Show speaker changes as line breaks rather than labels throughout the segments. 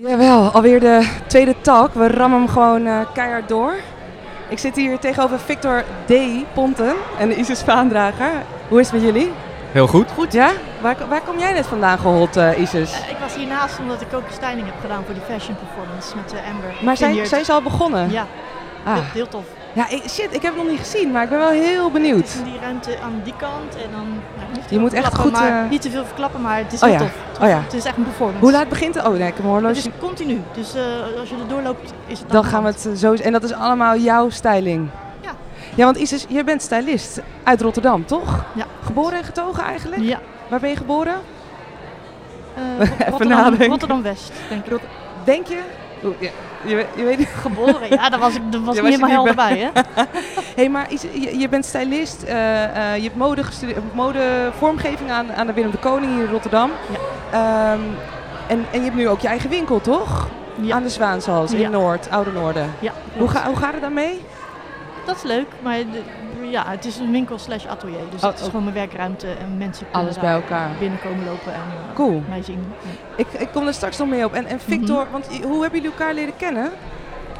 Jawel, alweer de tweede talk. We rammen hem gewoon eh, keihard door. Ik zit hier tegenover Victor D. Ponten en Isis Vaandrager. Hoe is het met jullie?
Heel goed.
Goed, ja? Waar, waar kom jij net vandaan gehold, eh, Isis?
Eh, Ik was hiernaast omdat ik ook de styling heb gedaan voor die fashion performance met eh, Amber.
Maar zijn,
Vineyard.
zijn ze al begonnen?
Ja, heel,
Ah.
heel tof.
ja ik- shit, ik heb het nog niet gezien, maar ik ben wel heel
Het is
benieuwd.
in die ruimte aan die kant en dan... nou, niet te
Je
veel
moet echt
verklappen,
goed,
Maar,
eh,
Niet te veel verklappen, maar het is
Oh
heel
ja.
tof.
Oh ja.
Het is echt een performance.
Hoe laat begint het? Oh nee, ik heb mijn
Het
horloge.
is continu, dus eh, als je er doorloopt is het
Dan
aan
gaan we
de
het eh, zo... En dat is allemaal jouw styling?
Ja.
Ja, want Isis, jij bent stylist uit Rotterdam, toch?
Ja.
Geboren en getogen eigenlijk?
hand. Ja.
Waar ben je geboren?
Eh,
Even
Rotterdam,
nadenken.
Rotterdam-West, denk ik.
Denk je? Oeh, ja, je, je weet
Geboren, ja, daar was ik, daar was
Je
ik niet
was er
helemaal helder
niet
bij, hè?
Hé, hey, maar is- je, je bent stylist, eh, eh, je hebt mode, gestude- mode vormgeving aan, aan de Willem de Koning hier in Rotterdam.
Ja.
Ehm, en, en je hebt nu ook je eigen winkel, toch?
Ja.
Aan de Zwaanshals in
Ja.
Noord, Oude Noorden.
Ja,
Hoe,
klopt.
ga, hoe gaat het daarmee?
Dat is leuk, maar de- ja, het is een winkel slash atelier, dus
Oh,
het is
oh.
gewoon mijn werkruimte en mensen kunnen
Alles bij
daar
elkaar.
binnenkomen lopen en eh,
Cool.
mij zien. Ja.
Ik, ik kom er straks nog mee op. En, en Victor, want i- hoe hebben jullie elkaar leren kennen?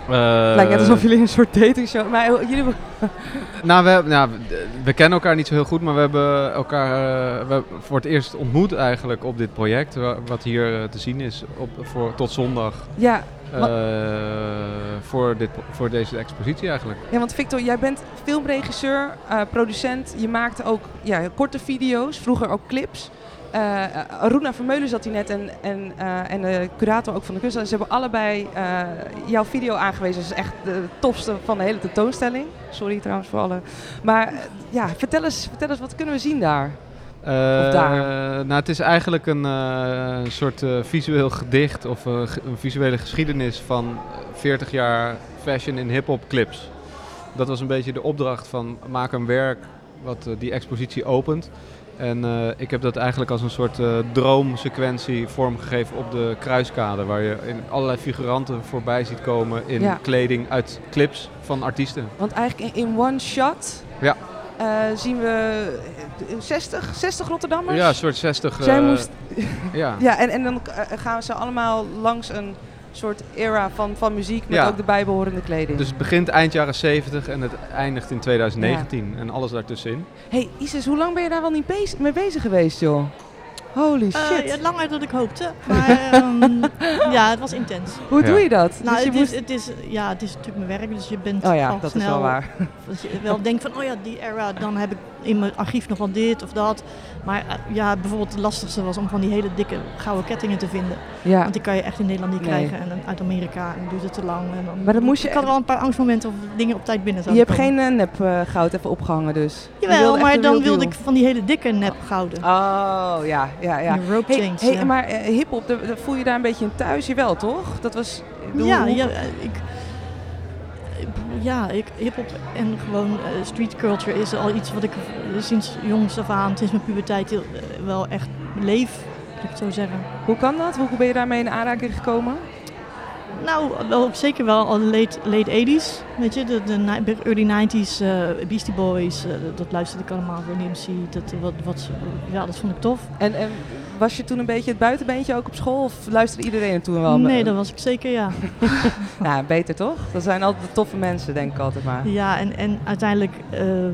Mhm.
Eh,
Lijkt net alsof jullie een soort datingshow... Maar eh, jullie...
Nou, we, hebben- nou, we- we kennen elkaar niet zo heel goed, maar we hebben elkaar eh, we hebben voor het eerst ontmoet eigenlijk op dit project. wa- Wat hier eh, te zien is op, voor, tot zondag
Ja,
eh, voor, dit, voor deze expositie eigenlijk.
Ja, want Victor, jij bent filmregisseur, eh, producent. Je maakt ook ja, korte video's, vroeger ook clips. Eh Aruna Vermeulen zat hier net en, en, eh, en de curator ook van de kunst. Ze hebben allebei eh, jouw video aangewezen. Dat is echt de topste van de hele tentoonstelling. Sorry trouwens voor alle. Maar eh, ja, vertel eens, vertel eens, wat kunnen we zien daar?
Eh,
daar?
Nou, het is eigenlijk een eh, een soort eh, visueel gedicht of een ge- een visuele geschiedenis van 40 jaar fashion in hip-hop clips. Dat was een beetje de opdracht van maak een werk wat eh, die expositie opent. En eh, ik heb dat eigenlijk als een soort eh, droomsequentie vormgegeven op de kruiskade. Waar je in allerlei figuranten voorbij ziet komen in
Ja.
kleding uit clips van artiesten.
Want eigenlijk in, in one shot
Ja.
eh, zien we eh, 60, 60 Rotterdammers.
Ja, een soort 60.
Zij
eh,
moest
ja.
Ja, en, en dan eh, gaan ze allemaal langs een soort era van, van muziek met
Ja.
ook de bijbehorende kleding.
Dus het begint eind jaren 70 en het eindigt in 2019 en alles daartussenin.
hey, Isis, hoe lang ben je daar wel niet bezig, mee bezig geweest, joh? Holy
Eh,
shit.
ja, langer dan ik hoopte. Maar ehm, ja, het was intens.
hoe doe
Ja.
je dat?
Nou,
Dus je
het, is, het, is, ja, het is natuurlijk mijn werk, dus je bent
Oh ja,
al
dat is
snel...
wel waar.
Dat je wel denkt van, oh ja, die era, dan heb ik in mijn archief nog wel dit of dat. Maar eh, ja, bijvoorbeeld het lastigste was om van die hele dikke gouden kettingen te vinden.
Ja.
Want die kan je echt in Nederland niet
Nee.
krijgen en dan uit Amerika en duurt het te lang. En dan,
Maar dan moest je-
Ik had wel een paar angstmomenten of dingen op tijd binnen
Je
zouden
hebt
komen.
geen eh, nep eh, goud even opgehangen dus. Je wilde
Jawel,
echt
maar
een
dan
real
wilde ik
deal.
van die hele dikke nep gouden.
Oh, ja, ja, ja.
Die rope
Hey,
chains.
hey,
ja.
Maar eh, hiphop, daar- daar voel je daar een beetje in thuis? Jawel, toch? Dat was... ik bedoel,
Ja,
hoe-
ja, eh, ik, ik- ja, ik, hip-hop en gewoon eh, street culture is al iets wat ik eh, sinds jongs af aan, sinds mijn puberteit, heel, eh, wel echt leef, moet ik het zo zeggen.
Hoe kan dat? Hoe ben je daarmee in aanraking gekomen?
Nou, wel, zeker wel al late, late 80s, weet je, de, de ni- early 90s, eh, Beastie Boys, eh, dat luisterde ik allemaal, Run MC, dat, eh, wat, wat, ze- ja, dat vond ik tof.
En, en was je toen een beetje het buitenbeentje ook op school? Of luisterde iedereen er toen wel?
nee, dat was ik zeker, ja.
Ja, beter toch? Dat zijn altijd de toffe mensen, denk ik altijd maar.
Ja, en, en uiteindelijk... eh,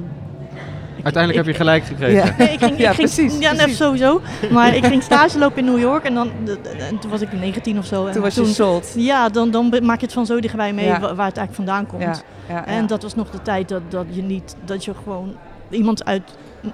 ik-
Uiteindelijk heb
ik-
je gelijk gekregen.
Ja.
Nee, ik ging,
Ja,
ik ging,
precies,
Ja, nee,
precies.
sowieso. Maar ik ging stage lopen in New York en, dan, de- de- en toen was ik 19 of zo. En
Toen was je sold.
Ja, dan, dan be- maak je het van zo dichtbij mee
Ja.
wa- waar het eigenlijk vandaan komt.
Ja, ja,
En dat was nog de tijd dat, dat je niet, dat je gewoon iemand uit,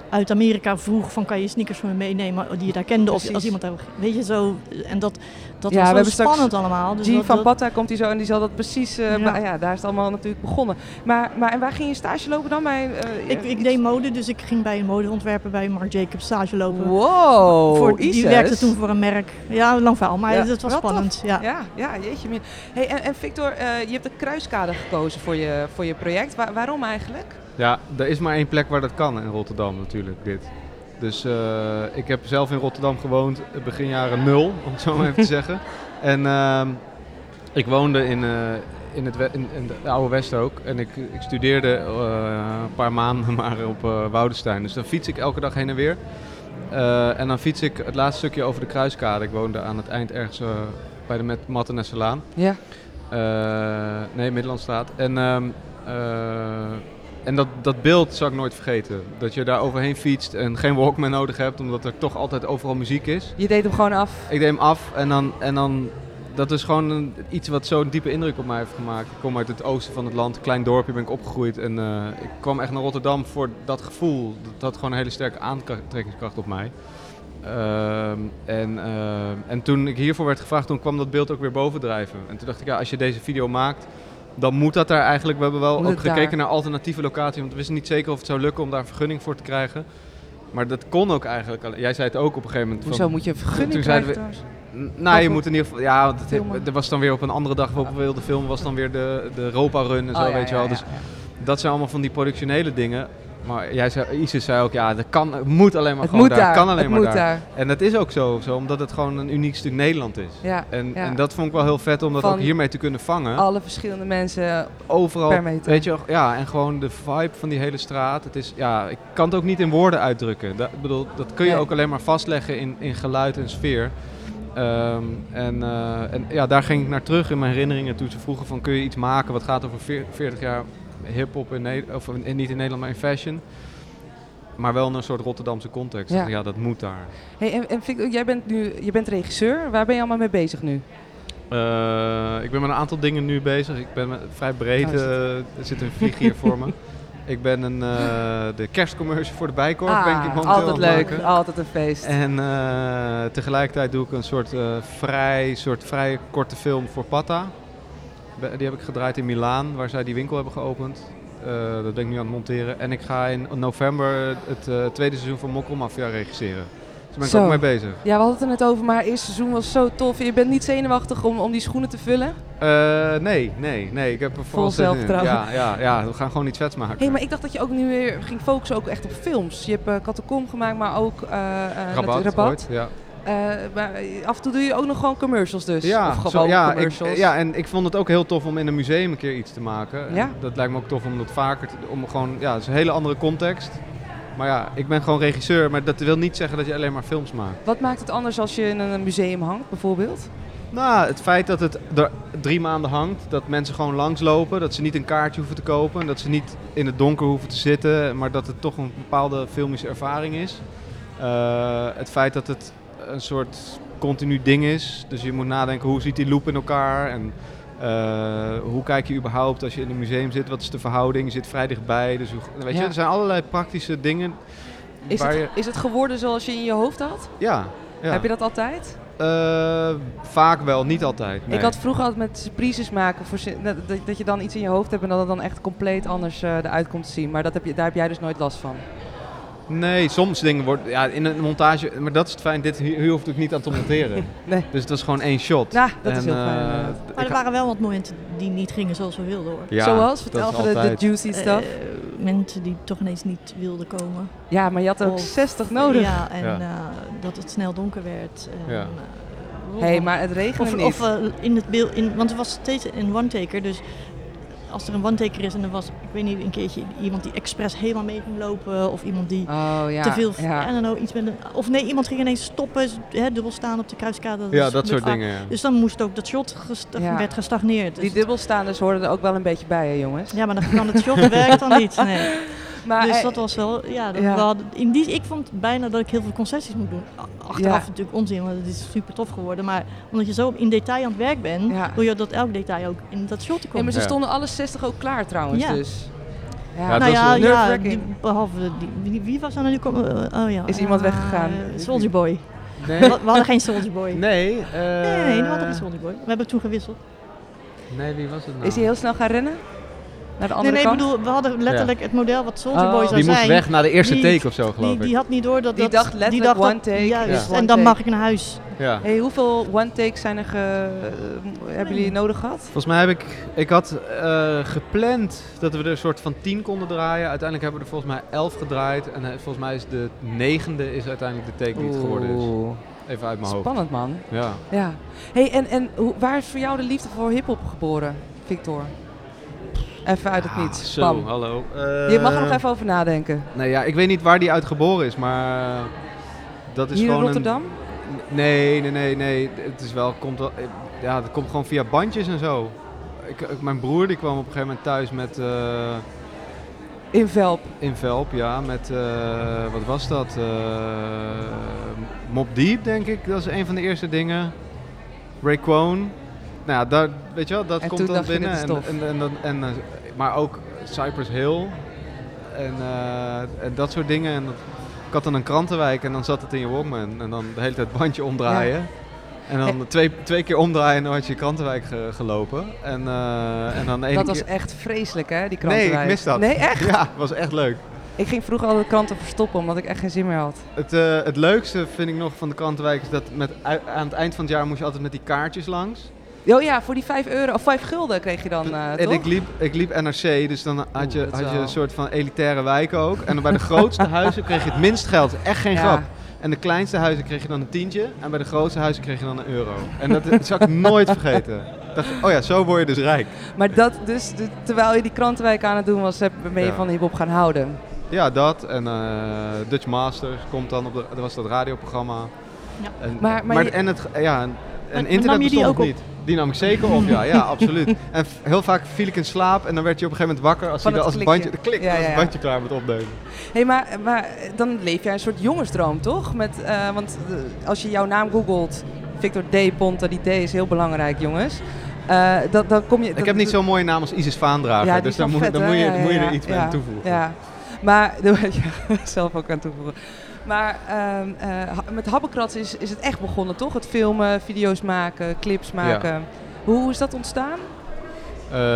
uit Amerika vroeg van kan je sneakers voor me meenemen Oh, die je daar kende of
Precies.
als iemand daar, weet je zo. En dat, dat
Ja, we
was
hebben
zo
straks
spannend allemaal. Dus
Jean
dat-
van
dat-
Patta komt hier zo en die zal dat precies... eh,
Ja.
maar ja, daar is het allemaal natuurlijk begonnen. Maar, maar en waar ging je stage lopen dan? Bij, eh,
ik, ik
iets-
deed mode, dus ik ging bij een modeontwerper bij Marc Jacobs stage lopen.
Wow,
voor, die
Isis.
werkte toen voor een merk. Ja, een lang verhaal, maar
Ja,
het was
wel tof.
spannend. Ja.
Ja, ja, jeetje. min. Hey, en, en Victor, eh, je hebt de kruiskade gekozen voor je, voor je project. Wa- waarom eigenlijk?
Ja, er is maar één plek waar dat kan in Rotterdam natuurlijk, dit. Dus eh, ik heb zelf in Rotterdam gewoond eh, begin jaren nul, om het zo maar even te zeggen. En ehm, ik woonde in, eh, in, het we- in, in de Oude West ook. En ik, ik studeerde eh, een paar maanden maar op eh Woudenstein. Dus dan fiets ik elke dag heen en weer. Eh, en dan fiets ik het laatste stukje over de kruiskade. Ik woonde aan het eind ergens eh, bij de Met- Mattenesselaan.
Ja.
Eh, nee, Middellandstraat. En, ehm, eh, en dat, dat beeld zal ik nooit vergeten. Dat je daar overheen fietst en geen Walkman nodig hebt, omdat er toch altijd overal muziek is.
Je deed hem gewoon af.
Ik deed hem af en dan, en dan dat is gewoon een- iets wat zo'n diepe indruk op mij heeft gemaakt. Ik kom uit het oosten van het land, een klein dorpje ben ik opgegroeid. En eh, ik kwam echt naar Rotterdam voor dat gevoel. Dat had gewoon een hele sterke aantrekkingskracht op mij. Ehm, en, ehm, en toen ik hiervoor werd gevraagd, toen kwam dat beeld ook weer bovendrijven. En toen dacht ik, ja, als je deze video maakt, dan moet dat daar eigenlijk. We hebben wel
Moet
ook
het daar.
gekeken naar alternatieve locaties, want we wisten niet zeker of het zou lukken om daar een vergunning voor te krijgen. Maar dat kon ook eigenlijk. alleen- Jij zei het ook op een gegeven moment. van-
Hoezo moet je een vergunning
toen zeiden
krijgen
we-
trouwens?
N- Nou, je
goed.
moet in ieder geval. Ja, want het,
Filmen.
er was dan weer op een andere dag waarop we wilden filmen, was dan weer de, de Europa Run en zo,
Oh, ja,
weet je
ja,
wel.
ja,
Dus
ja.
dat zijn allemaal van die productionele dingen. Maar jij zei, Isis zei ook, ja, dat kan, het moet alleen maar
Het
gewoon
moet
daar.
daar.
kan alleen
het
maar
moet
daar.
daar.
En dat is ook zo, zo, omdat het gewoon een uniek stuk Nederland is.
Ja,
En,
ja.
en dat vond ik wel heel vet om dat
Van
ook hiermee te kunnen vangen.
alle verschillende mensen.
Overal,
per meter.
weet je wel, ja, en gewoon de vibe van die hele straat. Het is, ja, ik kan het ook niet in woorden uitdrukken. Dat, ik bedoel, dat kun je
Nee.
ook alleen maar vastleggen in, in geluid en sfeer. Ehm, en, eh, en ja, daar ging ik naar terug in mijn herinneringen toen ze vroegen van kun je iets maken wat gaat over veer- 40 jaar hip-hop in Nederland, of in- niet in Nederland, maar in fashion. Maar wel in een soort Rotterdamse context.
Ja.
Ja, ja dat moet daar.
Hey, en en Victor, jij bent nu je bent regisseur. Waar ben je allemaal mee bezig nu?
Eh, ik ben met een aantal dingen nu bezig. Ik ben met- vrij breed.
Oh, is het-
eh, er zit een vlieg hier voor me. Ik ben een, eh, de kerstcommercial voor de Bijkorf ben ik
Ah,
momenteel
altijd
aan het
leuk,
maken.
altijd een feest.
En eh, tegelijkertijd doe ik een soort, eh, vrij, soort vrij korte film voor Patta. Be- Die heb ik gedraaid in Milaan, waar zij die winkel hebben geopend. Eh, dat ben ik nu aan het monteren. En ik ga in november het eh, tweede seizoen van Mokkelmafia regisseren. Dus daar ben ik
Zo.
ook mee bezig.
Ja, we hadden het er net over, maar het eerste seizoen was zo tof. Je bent niet zenuwachtig om, om die schoenen te vullen.
Eh, nee, nee, nee. Ik heb er vooral zin in.
zelfvertrouwen.
Ja, ja, ja, we gaan gewoon iets vets maken.
Hé, hey, maar ik dacht dat je ook nu weer ging focussen ook echt op films. Je hebt eh Catacomb gemaakt, maar ook eh, eh, natu-
Rabat, ooit, ja.
Eh, maar af en toe doe je ook nog gewoon commercials dus.
ja,
of
zo-
gewoon
ja, ik,
commercials.
ja, en ik vond het ook heel tof om in een museum een keer iets te maken. En
Ja.
Dat lijkt me ook tof om dat vaker te om gewoon, ja, het is een hele andere context. Maar ja, ik ben gewoon regisseur, maar dat wil niet zeggen dat je alleen maar films maakt.
Wat maakt het anders als je in een museum hangt bijvoorbeeld?
Nou, het feit dat het er drie maanden hangt, dat mensen gewoon langslopen, dat ze niet een kaartje hoeven te kopen, dat ze niet in het donker hoeven te zitten, maar dat het toch een bepaalde filmische ervaring is. Eh, het feit dat het een soort continu ding is, dus je moet nadenken hoe ziet die loop in elkaar en eh, hoe kijk je überhaupt als je in een museum zit, wat is de verhouding, je zit vrij dichtbij, dus hoe, weet
Ja.
je, er zijn allerlei praktische dingen.
Is
waar
het,
je-
is het geworden zoals je in je hoofd had?
ja, ja.
Heb je dat altijd?
Eh, vaak wel, niet altijd. nee.
Ik had vroeger altijd met surprises maken, voor, zin- dat, dat- dat je dan iets in je hoofd hebt en dat het dan echt compleet anders eh eruit komt te zien. Maar dat heb je, daar heb jij dus nooit last van.
Nee, soms dingen worden ja, in een montage, maar dat is het fijn. Dit hier, hier hoeft ik niet aan te monteren.
Nee.
Dus het was gewoon één shot.
Nou, dat is heel
eh,
fijn, inderdaad.
ik
Maar er
ga-
waren wel wat momenten die niet gingen zoals we wilden hoor.
Ja,
Zoals,
dat
vertel
is
even de- de,
altijd.
juicy stuff.
Eh, mensen die toch ineens niet wilden komen.
ja, maar je had er ook
of-
60 nodig.
Ja, en
Ja.
eh, dat het snel donker werd. en,
Ja.
eh,
hey, maar het regende
Of,
niet.
of eh, in het beeld, in, want er was steeds een one-taker, dus als er een one-taker is en er was, ik weet niet, een keertje iemand die expres helemaal mee ging lopen of iemand die
oh ja.
eh, te veel,
ja.
I don't know, iets met een, of nee, iemand ging ineens stoppen, z- hè, dubbel staan op de kruiskade.
Ja,
is
dat soort
vaak.
dingen. ja.
Dus dan moest ook dat shot gesta-
Ja.
werd gestagneerd. Dus
Die dubbelstaanders hoorden er ook wel een beetje bij, hè, jongens.
ja, maar dan kan het shot werkt dan niet. Nee.
Maar,
dus
eh,
dat was wel, ja, dat
ja.
we hadden- in die, ik vond bijna dat ik heel veel concessies moet doen. A- Achteraf
Ja.
natuurlijk onzin, want het is super tof geworden. Maar omdat je zo in detail aan het werk bent,
Ja.
wil je dat elk detail ook in dat shot te
ja, maar
komen.
ze
Ja.
stonden alle 60 ook klaar trouwens,
Ja.
dus.
Ja,
nou
dat is
ja,
wel-
ja
nerve-wracking.
die- behalve die, wie- wie was er nou nu komen? oh ja.
Is iemand
eh,
weggegaan?
Soldier Boy. We,
Nee,
we hadden geen Soldier Boy.
nee,
nee, nee, we hadden geen
eh,
Soldier Boy. We hebben toen gewisseld.
nee, wie was het nou?
Is hij heel snel gaan rennen? Naar de
Nee,
andere
nee, ik
kant?
bedoel, we hadden letterlijk het model wat Soldier
Oh.
Boy zou
die moest
zijn.
weg na de eerste
die-
take of zo, geloof
die, die
ik.
had niet door dat
Die
dat...
dacht letterlijk
dat-
one take
Juist,
is one
en dan
take.
mag ik naar huis.
Ja.
Hey, hoeveel one-takes zijn er ge- eh, hebben jullie nodig gehad?
Volgens mij heb ik, ik had eh, gepland dat we er een soort van tien konden draaien. Uiteindelijk hebben we er volgens mij elf gedraaid. En eh, volgens mij is de negende is uiteindelijk de take die het geworden is.
Oeh,
Even uit mijn hoofd.
Spannend man.
Ja.
Ja. Hey, en, en hoe- waar is voor jou de liefde voor hip-hop geboren, Victor? Even uit het
Ah,
niets.
Zo,
Bam.
hallo.
Je mag er nog
Eh,
even over nadenken.
Nou ja, ik weet niet waar die uit geboren is, maar dat is
Hier in
gewoon een,
Rotterdam?
Nee, nee, nee, nee. Het is wel, komt wel, ja, het komt gewoon via bandjes en zo. Ik, ik- mijn broer die kwam op een gegeven moment thuis met eh,
In Velp.
in Velp, ja, met eh, wat was dat? Eh Mob Deep, denk ik. Dat is een van de eerste dingen. Rayquan. Nou ja, daar, weet je wel, dat
En
komt
toen
dan
dacht je,
binnen.
dit is
en,
tof.
en, en, dan- en, eh, maar ook Cypress Hill en, eh, en dat soort dingen. En dat, ik had dan een krantenwijk en dan zat het in je Walkman. En dan de hele tijd het bandje omdraaien. En dan twee, twee keer omdraaien en dan had je je krantenwijk ge- gelopen. En, eh, en dan één
Dat
keer...
was echt vreselijk, hè, die
Nee,
krantenwijk.
ik mis dat.
Nee, echt?
Ja, het was echt leuk.
Ik ging vroeger al de kranten verstoppen, omdat ik echt geen zin meer had.
Het, eh, het leukste vind ik nog van de krantenwijk is dat met, ui- aan het eind van het jaar moest je altijd met die kaartjes langs.
Oh ja, voor die 5 euro, of 5 gulden kreeg je dan, eh,
en
toch?
ik liep, ik liep NRC, dus dan had je,
Oeh, dat is
had je
wel-
een soort van elitaire wijk ook. En dan bij de grootste huizen kreeg je het minst geld. Echt geen
Ja.
grap. En de kleinste huizen kreeg je dan een tientje. En bij de grootste huizen kreeg je dan een euro. En dat, dat zal ik nooit vergeten. Ik dacht, oh ja, zo word je dus rijk.
Maar dat dus, de- terwijl je die krantenwijk aan het doen was, heb- ben je
Ja.
van hiphop gaan houden.
Ja, dat. En eh, Dutch Masters komt dan op de, dat was dat radioprogramma.
Ja.
En,
Maar- maar je-
en het, ja, en, en
nam
internet
je die
bestond nog
ook op?
niet. Die nam ik zeker op, ja, ja, absoluut. En f- heel vaak viel ik in slaap en dan werd je op een gegeven moment wakker als,
Van
je dan,
het
als het bandje,
klikje.
de klik,
Ja,
als
ja,
het
ja.
bandje klaar met opnemen.
Hé, hey, maar, maar dan leef jij een soort jongensdroom, toch? Met, eh, want eh, als je jouw naam googelt, Victor D. Ponta, die D is heel belangrijk, jongens. Eh, dat, dan kom je...
Ik heb niet zo'n mooie naam als Isis Vaandrager,
Ja, die
dus
is
dan
wel
moet,
vet,
dan
hè?
moet je,
Ja,
dan moet je
ja,
er iets mee
ja,
aan toevoegen.
Ja, maar... Ja, zelf ook aan toevoegen. Maar ehm, eh, ha- met Habbekrats is, is het echt begonnen, toch? Het filmen, video's maken, clips maken. Hoe, hoe is dat ontstaan?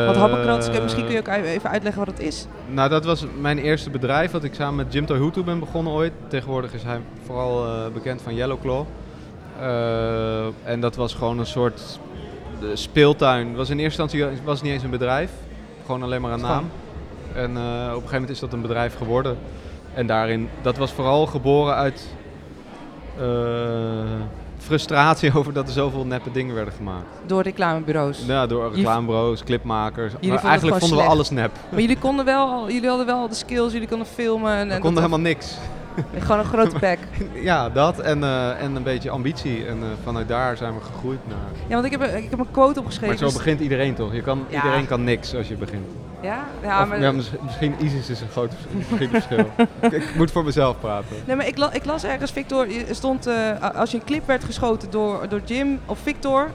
Want Habbekrats,
Eh,
misschien kun je ook u- even uitleggen wat het is.
Nou, dat was mijn eerste bedrijf wat ik samen met Jim Tohutu ben begonnen ooit. Tegenwoordig is hij vooral eh, bekend van Yellow Claw. Eh, en dat was gewoon een soort eh, speeltuin. Het was in eerste instantie eh, was het niet eens een bedrijf, gewoon alleen maar een naam. En eh, op een gegeven moment is dat een bedrijf geworden. En daarin, dat was vooral geboren uit eh, frustratie over dat er zoveel neppe dingen werden gemaakt.
Door reclamebureaus.
Ja, door reclamebureaus, clipmakers.
vonden
Maar
het
eigenlijk
gewoon
vonden we
slecht.
alles nep.
Maar jullie konden wel, jullie hadden wel de skills, jullie konden filmen. En,
We
en
konden
dat-
helemaal niks.
Gewoon een grote bek.
Ja, dat en, eh, en een beetje ambitie. En eh, vanuit daar zijn we gegroeid naar.
Ja, want ik heb, ik heb een quote
Maar
opgeschreven.
zo
dus-
begint iedereen toch? Je kan,
Ja.
Iedereen kan niks als je begint.
dus- Ja, ja
Of,
maar,
ja, mis- misschien ISIS is een groot vers- groot verschil. ik, ik moet voor mezelf praten.
nee, maar ik, la- ik las ergens, Victor, je stond, eh, als je een clip werd geschoten door, door Jim of Victor,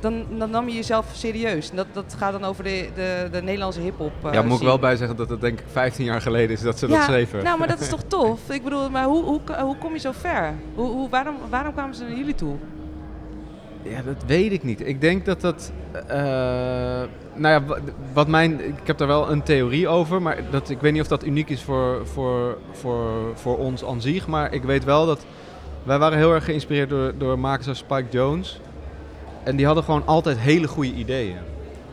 dan, dan nam je jezelf serieus. En dat, dat gaat dan over de, de, de Nederlandse hip-hop. eh,
ja, moet ik
scene.
wel bij zeggen dat het denk ik 15 jaar geleden is dat ze dat
Ja,
schreven.
Nou, maar dat is toch tof? Ik bedoel, maar hoe, hoe, hoe kom je zo ver? Hoe, hoe, waarom, waarom kwamen ze naar jullie toe?
Ja, dat weet ik niet. Ik denk dat dat. eh, nou ja, wa- wat mijn. Ik heb daar wel een theorie over, maar dat, ik weet niet of dat uniek is voor, voor, voor, voor ons aan zich. Maar ik weet wel dat. Wij waren heel erg geïnspireerd door, door makers als Spike Jones. En die hadden gewoon altijd hele goede ideeën.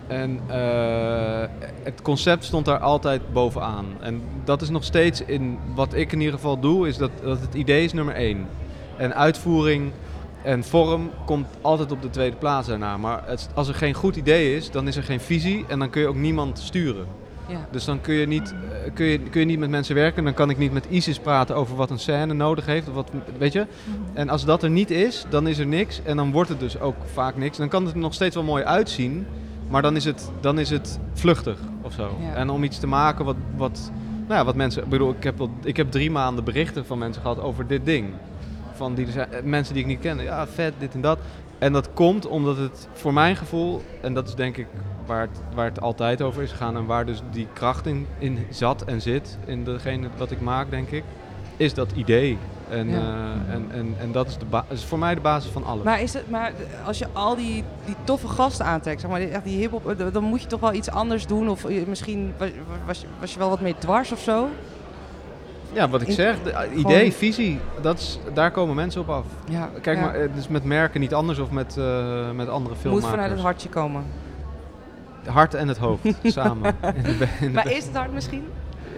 En eh, het concept stond daar altijd bovenaan. En dat is nog steeds in wat ik in ieder geval doe, is dat, dat het idee is nummer één. En uitvoering en vorm komt altijd op de tweede plaats daarna. Maar het- als er geen goed idee is, dan is er geen visie en dan kun je ook niemand sturen.
Ja.
Dus dan kun je, niet, eh, kun, je, kun je niet met mensen werken. Dan kan ik niet met ISIS praten over wat een scène nodig heeft. Of wat, weet je? En als dat er niet is, dan is er niks. En dan wordt het dus ook vaak niks. Dan kan het er nog steeds wel mooi uitzien. Maar dan is het, dan is het vluchtig of zo.
Ja.
En om iets te maken wat, wat, nou ja, wat mensen. Ik bedoel, ik heb, wel- ik heb drie maanden berichten van mensen gehad over dit ding. Van die, er zijn- eh, mensen die ik niet kende. Ja, vet, dit en dat. En dat komt omdat het voor mijn gevoel, en dat is denk ik waar het, waar het altijd over is gegaan en waar dus die kracht in, in zat en zit, in degene wat ik maak, denk ik, is dat idee. En,
Ja.
eh, en, en, en dat is, de ba- is voor mij de basis van alles.
Maar, is het, maar als je al die, die toffe gasten aantrekt, zeg maar, die- echt die hiphop, eh, dan moet je toch wel iets anders doen? Of eh, misschien was, was, je- was je wel wat meer dwars of zo?
ja, wat ik
in-
zeg, de- eh, idee,
gewoon-
visie, dat is, daar komen mensen op af.
Ja,
Kijk, maar eh, het is met merken niet anders of met, eh, met andere filmmakers.
moet vanuit het hartje komen.
Hart en het hoofd samen. In de be- in de
Maar
be-
is het hard misschien?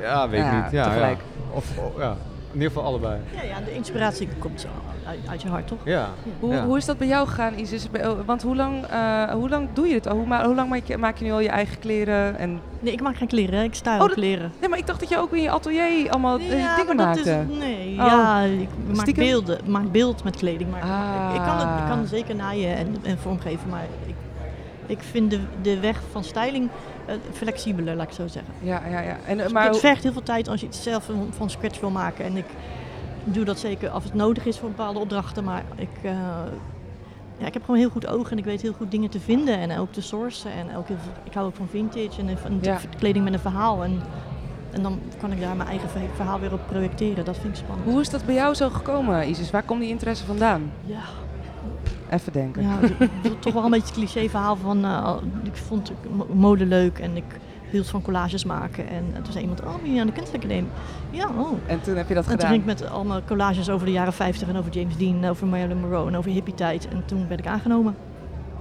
ja, weet ik
Ja,
niet. Ja,
tegelijk.
Ja. Of, oh, ja. In ieder geval allebei.
Ja, ja, de inspiratie komt zo uit, uit je hart, toch?
Ja.
Hoe,
Ja.
hoe is dat bij jou gegaan, Isis? Bij- oh, Want hoe lang, eh, hoe lang doe je dit al? Hoe, ma- hoe lang maak je, maak je nu al je eigen kleren? En...
Nee, ik maak geen kleren, hè. ik sta
Oh,
op
dat-
kleren.
Nee, maar ik dacht dat je ook in je atelier allemaal eh,
Ja,
dingen
maar dat
maakte.
Is, nee,
Oh.
ja, ik maak
Stiekem?
beelden, maak beeld met kleding. Maar ik, ik kan het, ik
Ah.
kan het zeker naaien en, en vormgeven, maar ik, ik vind de, de weg van styling eh, flexibeler, laat ik zo zeggen.
Ja, ja, ja. En, eh,
Dus
maar,
het vergt heel veel tijd als je het zelf van, van scratch wil maken. En ik doe dat zeker als het nodig is voor bepaalde opdrachten. Maar ik, eh, ja, ik heb gewoon heel goed oog en ik weet heel goed dingen te vinden. En ook te sourcen. En ook heel veel- ik hou ook van vintage en van
Ja.
kleding met een verhaal. En, en dan kan ik daar mijn eigen ve- verhaal weer op projecteren. Dat vind ik spannend.
hoe is dat bij jou zo gekomen, Isis? Waar komt die interesse vandaan?
Ja,
Even denken.
ja het- het- toch wel een beetje het cliché verhaal van... eh, ik vond mode leuk en ik hield van collages maken. En toen zei iemand, oh, ben je aan de kunstacademie? Ja, oh.
En toen heb je dat
En toen
gedaan.
ging ik met allemaal collages over de jaren 50 en over James Dean, eh, over Marilyn Monroe en over hippietijd. En toen werd ik aangenomen.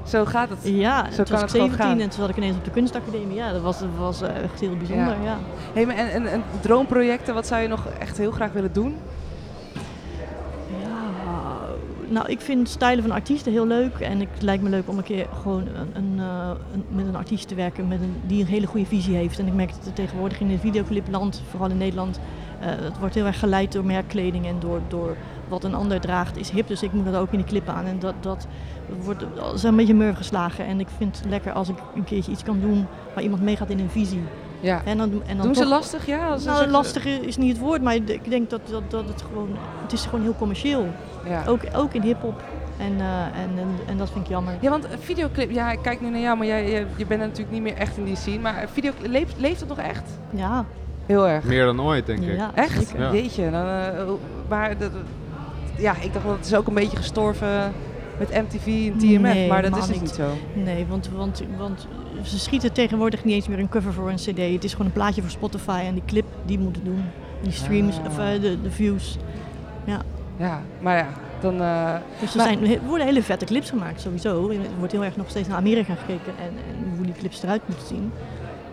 Zo gaat het.
Ja, en
Zo
toen
kan
was ik
het gewoon
17
gaan.
en toen zat ik ineens op de kunstacademie. Ja, dat was, dat was eh, echt heel bijzonder.
Ja.
Ja.
Hey, maar en, en, en droomprojecten, wat zou je nog echt heel graag willen doen?
Ja, Nou, ik vind stijlen van artiesten heel leuk. En ik, het lijkt me leuk om een keer gewoon een, een, eh, een- met een artiest te werken met een, die een hele goede visie heeft. En ik merk dat er tegenwoordig in het videoclipland, vooral in Nederland, eh, het wordt heel erg geleid door merkkleding en door, door wat een ander draagt is hip. Dus ik moet dat ook in die clip aan. En dat, dat wordt is een beetje meur geslagen. En ik vind het lekker als ik een keertje iets kan doen waar iemand meegaat in een visie.
Ja.
En dan, en dan
Doen ze
toch-
lastig? Ja, als ze
Nou,
zeggen-
lastig is niet het woord, maar ik denk dat, dat, dat het gewoon... Het is gewoon heel commercieel.
Ja.
Ook, ook in hip-hop. En, eh, en, en, en dat vind ik jammer.
Ja, want een videoclip, ja, ik kijk nu naar jou, maar jij, jij- je bent natuurlijk niet meer echt in die scene. Maar een videoclip, leeft, leeft het nog echt?
Ja,
Heel erg.
Meer dan ooit, denk ik.
ja
Echt?
zeker.
Ja.
Jeetje. Dan, eh, maar dat, ja, ik dacht wel, het is ook een beetje gestorven met MTV en TMF,
Nee,
maar dat
helemaal
is dus
niet.
niet zo.
Nee, want, want, want ze schieten tegenwoordig niet eens meer een cover voor een cd. Het is gewoon een plaatje voor Spotify en die clip die moeten doen. Die streams,
Ah.
of eh, de, de views.
Ja, maar ja, dan... eh,
Dus er
Maar-
zijn, er worden hele vette clips gemaakt sowieso. Er wordt heel erg nog steeds naar Amerika gekeken en, en hoe die clips eruit moeten zien.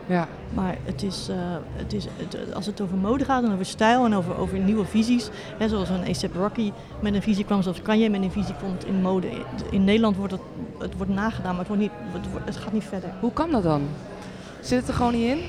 ja.
Maar het is, eh, het is, het- als het over mode gaat en over stijl en over, over nieuwe visies. Hè, zoals een A$AP Rocky met een visie kwam, zoals Kanye met een visie komt in mode. In Nederland wordt het, het wordt nagedaan, maar het, wordt niet, het, wordt- het gaat niet verder.
Hoe kan dat dan? Zit het er gewoon niet in?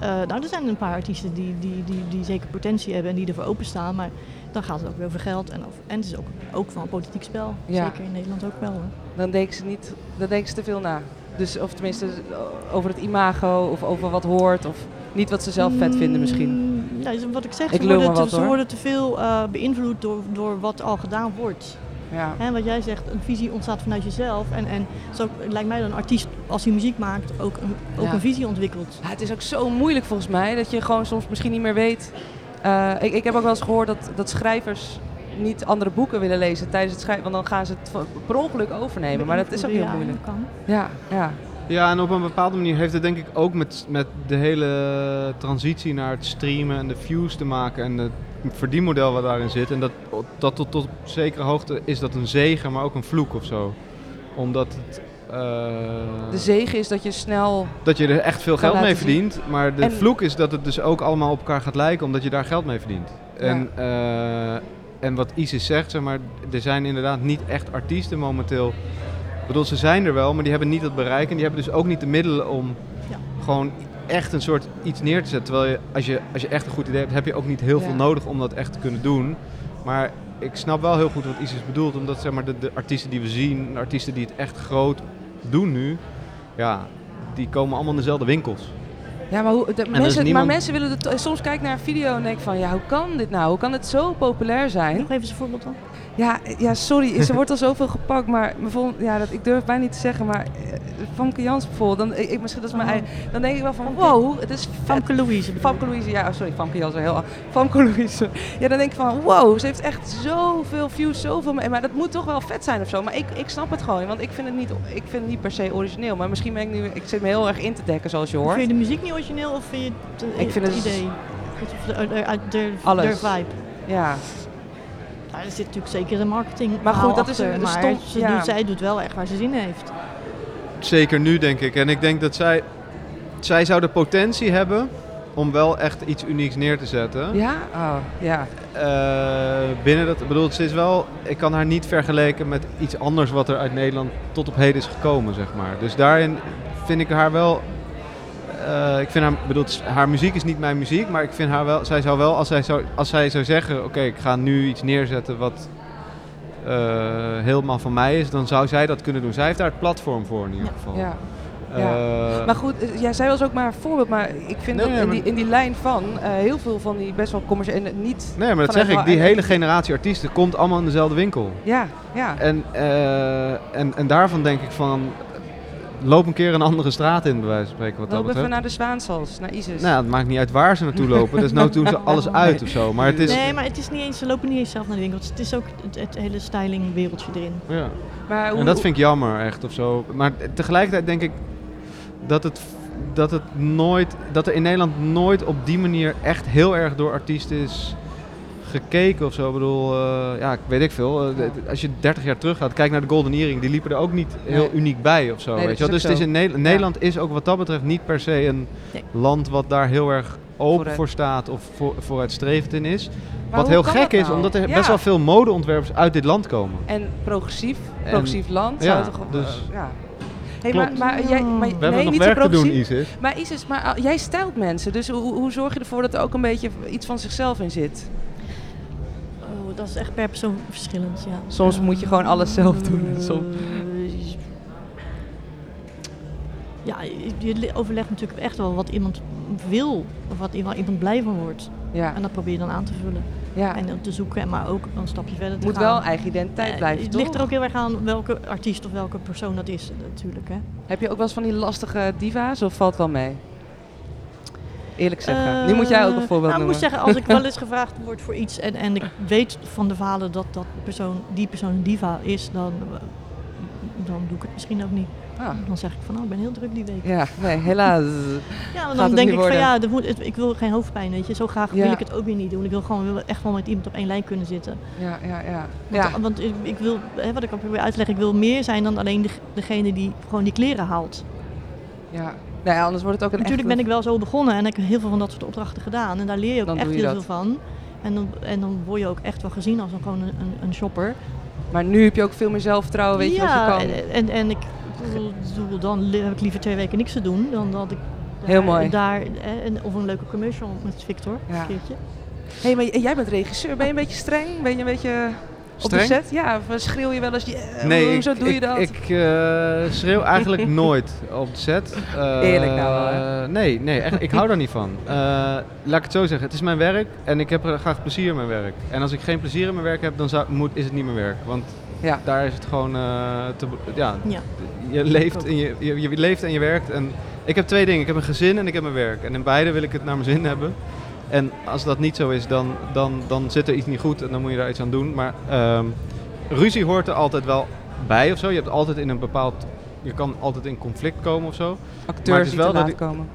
Eh, nou, er zijn een paar artiesten die, die, die, die zeker potentie hebben en die ervoor openstaan. Maar dan gaat het ook weer over geld. En, over, en het is ook, ook wel een politiek spel.
Ja.
Zeker in Nederland ook wel. Hè.
Dan denken ze niet, dan denken ze te veel na. Dus, of tenminste, eh, over het imago of over wat hoort of niet wat ze zelf vet vinden misschien.
Mm, nou, is wat ik zeg,
Ik
ze,
lul
worden
maar
te,
wat,
ze
hoor.
worden te veel eh, beïnvloed door, door wat al gedaan wordt.
Ja.
Hè, wat jij zegt, een visie ontstaat vanuit jezelf. En, en zo lijkt mij dat een artiest, als hij muziek maakt, ook een, ook
Ja.
een visie ontwikkelt.
Ja, het is ook zo moeilijk volgens mij dat je gewoon soms misschien niet meer weet. Eh, ik, ik heb ook wel eens gehoord dat, dat schrijvers niet andere boeken willen lezen tijdens het schrijven, want dan gaan ze het van- per ongeluk overnemen. Maar dat is ook heel
Ja,
moeilijk.
dat kan.
Ja, ja.
Ja, en op een bepaalde manier heeft het denk ik ook met, met de hele transitie naar het streamen en de views te maken en het verdienmodel wat daarin zit. En dat, dat tot, tot op zekere hoogte is dat een zegen, maar ook een vloek of zo. Omdat het, eh,
De zegen is dat je snel.
dat je er echt veel
Kan
geld mee
laten zien.
verdient, maar de
En-
vloek is dat het dus ook allemaal op elkaar gaat lijken omdat je daar geld mee verdient. En, eh, en wat Isis zegt, zeg maar, er zijn inderdaad niet echt artiesten momenteel. Ik bedoel, ze zijn er wel, maar die hebben niet dat bereik en die hebben dus ook niet de middelen om
Ja.
gewoon echt een soort iets neer te zetten. Terwijl je, als, je, als je echt een goed idee hebt, heb je ook niet heel
Ja.
veel nodig om dat echt te kunnen doen. Maar ik snap wel heel goed wat Isis bedoelt, omdat zeg maar, de, de artiesten die we zien, de artiesten die het echt groot doen nu, ja, die komen allemaal in dezelfde winkels.
Ja, maar, hoe, de
is
mensen,
niemand-
maar mensen willen. Het, soms kijk ik naar een video en denk van: ja, hoe kan dit nou? Hoe kan het zo populair zijn?
Nog even een voorbeeld dan.
Ja, ja sorry, ze wordt al zoveel gepakt, maar bijvoorbeeld, ja, dat, ik durf bijna niet te zeggen, maar eh, Famke Jans bijvoorbeeld, dan, ik, misschien dat is mijn
Oh.
eigen- dan denk ik wel van, wow, het is vet.
Famke Louise. bedoel ik.
Famke Louise, ja, oh, sorry, Famke Jans, heel Famke Louise. Ja, dan denk ik van, wow, ze heeft echt zoveel views, zoveel, me- maar dat moet toch wel vet zijn of zo. Maar ik, ik snap het gewoon, want ik vind het niet, ik vind het niet per se origineel, maar misschien ben ik nu, ik zit me heel erg in te dekken, zoals je hoort.
Vind je de muziek niet origineel of vind je het, eh,
Ik vind
het
het-
idee? Of de, uit de, de,
Alles.
vibe.
Ja,
Nou, er zit natuurlijk zeker een marketing
Maar goed, dat is
achter,
een- een
maar
stom-
ze
ja.
doet, zij doet wel echt waar ze zin in heeft.
Zeker nu, denk ik. En ik denk dat zij, zij zou de potentie hebben om wel echt iets unieks neer te zetten.
Ja? Oh, ja.
Eh, binnen dat, ik bedoel, ze is wel, ik kan haar niet vergelijken met iets anders wat er uit Nederland tot op heden is gekomen, zeg maar. Dus daarin vind ik haar wel, eh, ik vind haar, ik bedoel, het is- haar muziek is niet mijn muziek, maar ik vind haar wel, zij zou wel, als zij zou, als zij zou zeggen, oké, ik ga nu iets neerzetten wat eh, helemaal van mij is, dan zou zij dat kunnen doen. Zij heeft daar het platform voor in ieder
Ja.
geval.
ja.
Eh,
Maar goed, eh, ja, zij was ook maar een voorbeeld. Maar ik vind
Nee,
dat
nee,
in,
maar-
die, in die lijn van eh, heel veel van die best wel commerciële... En niet...
nee, maar dat
vanuit
zeg ik,
wel-
die hele generatie artiesten komt allemaal in dezelfde winkel.
Ja, ja.
En, eh, en, en daarvan denk ik van, loop een keer een andere straat in, bij wijze van spreken. Wat dat
Loop even
betreft.
naar de Zwaansals, naar Isis.
Nou, het maakt niet uit waar ze naartoe lopen, dus nou doen ze alles uit of zo. Maar het is...
Nee, maar het is niet eens, ze lopen niet eens zelf naar de winkels. Het is ook het, het hele styling wereldje erin.
Ja.
maar hoe,
En dat vind ik jammer, echt, of zo. Maar tegelijkertijd denk ik dat het, dat het nooit... Dat er in Nederland nooit op die manier echt heel erg door artiesten is gekeken of zo. Ik bedoel, eh, ja, weet ik veel. Eh, d- d- als je 30 jaar terug gaat, kijk naar de Golden Earring. Die liepen er ook niet heel
Nee.
uniek bij of zo.
Nee,
weet je
dat
wel.
is
Dus
ook
het is
zo.
in Ne- Nederland is ook wat dat betreft niet per se een
Nee.
land wat daar heel erg open
Vooruit.
voor staat of voor, vooruitstrevend in is.
maar
wat
hoe
heel
kan
gek
dat nou?
is, omdat er
Ja.
best wel veel modeontwerpers uit dit land komen.
En progressief, progressief land.
ja,
zou toch, op-
dus-
eh, ja. Hey,
Klopt.
maar, maar, jij, maar,
We
We
nee,
hebben nog
niet
werk
zo
te doen,
progressief.
Isis.
Maar Isis, maar ah, jij stelt mensen, dus hoe, hoe zorg je ervoor dat er ook een beetje iets van zichzelf in zit?
Oh, dat is echt per persoon verschillend, ja.
Soms
Ja.
moet je gewoon alles zelf doen en soms-
Eh, Ja, je- je le- overlegt natuurlijk echt wel wat iemand wil. Of wat i- waar iemand blij van wordt.
Ja,
En dat probeer je dan aan te vullen.
ja.
En op te zoeken, en maar ook een stapje verder te
moet
gaan.
wel eigen identiteit
Eh,
blijven,
Het
toch?
ligt er ook heel erg aan welke artiest of welke persoon dat is, natuurlijk. Hè.
Heb je ook wel eens van die lastige diva's of valt wel mee? Eerlijk zeggen. nu moet jij ook een
Eh,
voorbeeld
nou, ik
noemen.
moet zeggen, als ik wel eens gevraagd word voor iets en, en ik weet van de verhalen dat, dat persoon, die persoon een diva is, dan, eh, dan doe ik het misschien ook niet.
Ah,
Dan zeg ik van, nou, ik ben heel druk die week.
ja, nee, helaas.
Ja, want
Gaat
dan
het
denk
niet
ik van,
worden.
ja, dat moet, het- ik wil geen hoofdpijn, weet je. Zo graag
Ja.
wil ik het ook weer niet doen. Ik wil gewoon wel- echt wel met iemand op één lijn kunnen zitten.
Ja, ja, ja.
Want,
ja.
want ik, ik wil, hè, wat ik al probeer uit te leggen, ik wil meer zijn dan alleen deg- degene die gewoon die kleren haalt.
ja. Nou ja, anders wordt het ook een
Natuurlijk
echte-
ben ik wel zo begonnen en heb ik heel veel van dat soort opdrachten gedaan. En daar leer je ook
Dan
echt
doe je
heel
dat.
veel van. En dan, en dan word je ook echt wel gezien als een, gewoon een, een, een shopper.
Maar nu heb je ook veel meer zelfvertrouwen, Oh, weet je
Ja, eh,
wat je kan.
En, en, en ik bedoel, dan li- heb ik liever twee weken niks te doen dan dat ik daar,
Heel mooi.
daar eh, en, of een leuke commercial met Victor
Ja.
een keertje.
hey, maar j- jij bent regisseur. Ben je een beetje streng? Ben je een beetje op de
Streng?
set? Ja, of eh, schreeuw je wel eens? "Yeah",
Nee,
hoezo
ik,
Eh, doe je
ik-
dat?
Ik eh, schreeuw eigenlijk nooit op de set. Eh,
Eerlijk nou wel, hè?
Nee, nee echt, ik hou daar niet van. Eh, laat ik het zo zeggen, het is mijn werk en ik heb er graag plezier in mijn werk. En als ik geen plezier in mijn werk heb, dan zou, moet, is het niet mijn werk. Want
Ja.
daar is het gewoon eh, te, ja,
Ja.
je leeft, en je, je, je leeft en je werkt. En ik heb twee dingen. Ik heb een gezin en ik heb mijn werk. En in beide wil ik het naar mijn zin hebben. En als dat niet zo is, dan, dan, dan zit er iets niet goed en dan moet je daar iets aan doen. Maar ehm, ruzie hoort er altijd wel bij of zo. Je hebt altijd in een bepaald. Je kan altijd in conflict komen of zo. maar het
Acteurs
is
die
wel
te
dat
laat
ik-
komen.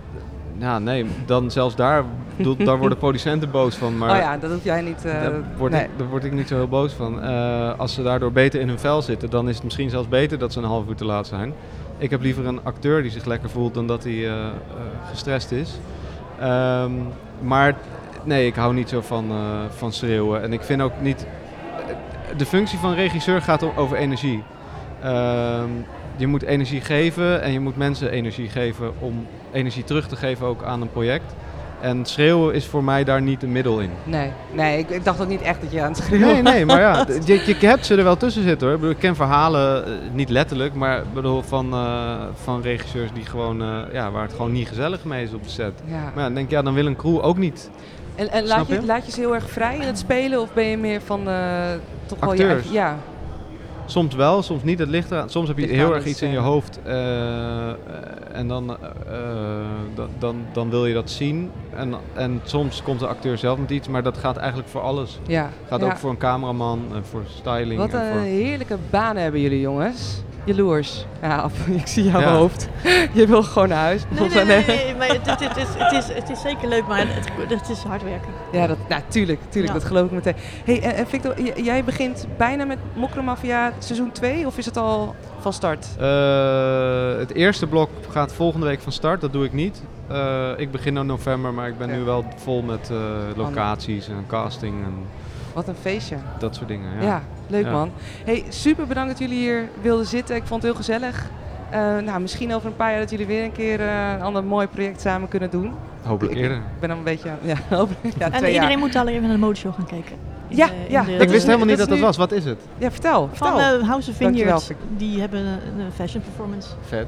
Nou, nee, dan zelfs daar, bedoel, daar worden producenten boos van. Maar
oh ja, dat hoef jij niet... eh,
daar, word
nee.
ik, daar word ik niet zo heel boos van. Eh, als ze daardoor beter in hun vel zitten, dan is het misschien zelfs beter dat ze een half uur te laat zijn. Ik heb liever een acteur die zich lekker voelt dan dat hij eh, eh, gestrest is. Ehm, maar nee, ik hou niet zo van, eh, van schreeuwen. En ik vind ook niet. eh, De functie van regisseur gaat o- over energie. Ehm, je moet energie geven en je moet mensen energie geven om energie terug te geven ook aan een project. En schreeuwen is voor mij daar niet een middel in.
Nee, nee ik, ik dacht ook niet echt dat je aan het schreeuwen
Nee, nee, maar ja, d- je, je hebt ze er wel tussen zitten hoor. Ik, bedoel, ik ken verhalen, eh, niet letterlijk, maar ik bedoel, van, eh, van regisseurs die gewoon, eh, ja, waar het gewoon niet gezellig mee is op de set.
Ja.
Maar ja, dan denk je, ja, dan wil een crew ook niet.
En, en
Snap
laat, je,
je?
laat je ze heel erg vrij in het spelen of ben je meer van eh, toch wel je
Acteurs.
eigen- Ja,
Soms wel, soms niet. Het ligt eraan. Soms heb je
Ligt aan
heel
de
erg iets in je
scène.
hoofd eh, eh, en dan, eh, eh, dan, dan, dan wil je dat zien. En, en soms komt de acteur zelf met iets, maar dat gaat eigenlijk voor alles.
ja.
Gaat
ja.
ook voor een cameraman en voor styling.
Wat eh,
en
een
voor...
heerlijke baan hebben jullie jongens. jaloers. Ja, of- ik zie jouw
Ja.
hoofd. Je wil gewoon naar huis.
Nee, nee, nee, nee, nee, maar het, het, het, is, het, is, het is zeker leuk, maar het, het is hard werken.
Ja, dat, nou, tuurlijk, tuurlijk
Ja.
dat geloof ik meteen. hey, eh, eh, Victor, j- jij begint bijna met Mokromafia seizoen 2 of is het al van start?
Eh, het eerste blok gaat volgende week van start, dat doe ik niet. Eh, ik begin in november, maar ik ben
Ja.
nu wel vol met eh, locaties en casting en
Wat een feestje.
dat soort dingen.
Ja,
Ja.
leuk
Ja.
man. hey, super bedankt dat jullie hier wilden zitten. Ik vond het heel gezellig. Eh, nou, misschien over een paar jaar dat jullie weer een keer eh, een ander mooi project samen kunnen doen.
Hopelijk
Ik-
eerder.
Ik ben dan een beetje... Ja, over- ja
En
twee
iedereen
jaar.
moet daar even naar de modeshow gaan kijken. In
Ja,
de- in
ja,
de-
dat
Ik
is-
wist helemaal niet
dat
dat
is
dat was. Wat is het?
Ja, vertel.
Van
vertel.
eh, House of
Dankjewel,
Vineyards,
Fik.
die hebben een, een fashion performance.
Vet.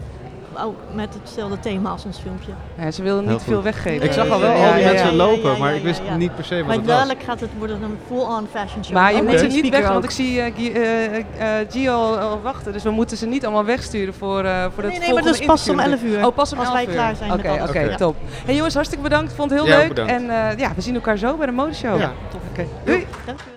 Ook met hetzelfde thema als ons filmpje.
Ja, ze wilden
Heel
niet
goed.
veel weggeven.
Ik zag al
Ja,
wel
ja,
al die
ja,
mensen
ja,
lopen,
ja, ja,
maar
ja,
ik wist
ja.
niet per se wat
Maar
het was.
dadelijk gaat het worden een full-on fashion show. Oh,
Maar je
Ook
moet
met
ze
een
niet
speaker
weg, want
ook.
ik zie eh, Guy- eh, eh, Gio al wachten. Dus we moeten ze niet allemaal wegsturen voor, eh voor
Nee,
het
nee, maar dat is
volgende
pas om
interview
11 uur.
natuurlijk. Oh, pas om
als
11
wij
uur.
klaar zijn
Oké,
met alles.
oké,
Oké.
top. Hey jongens, hartstikke bedankt. Vond het heel
Ja, ook
leuk.
bedankt.
En eh, ja, we zien elkaar zo bij de modeshow.
Ja.
Oké, doei.
Dank je wel.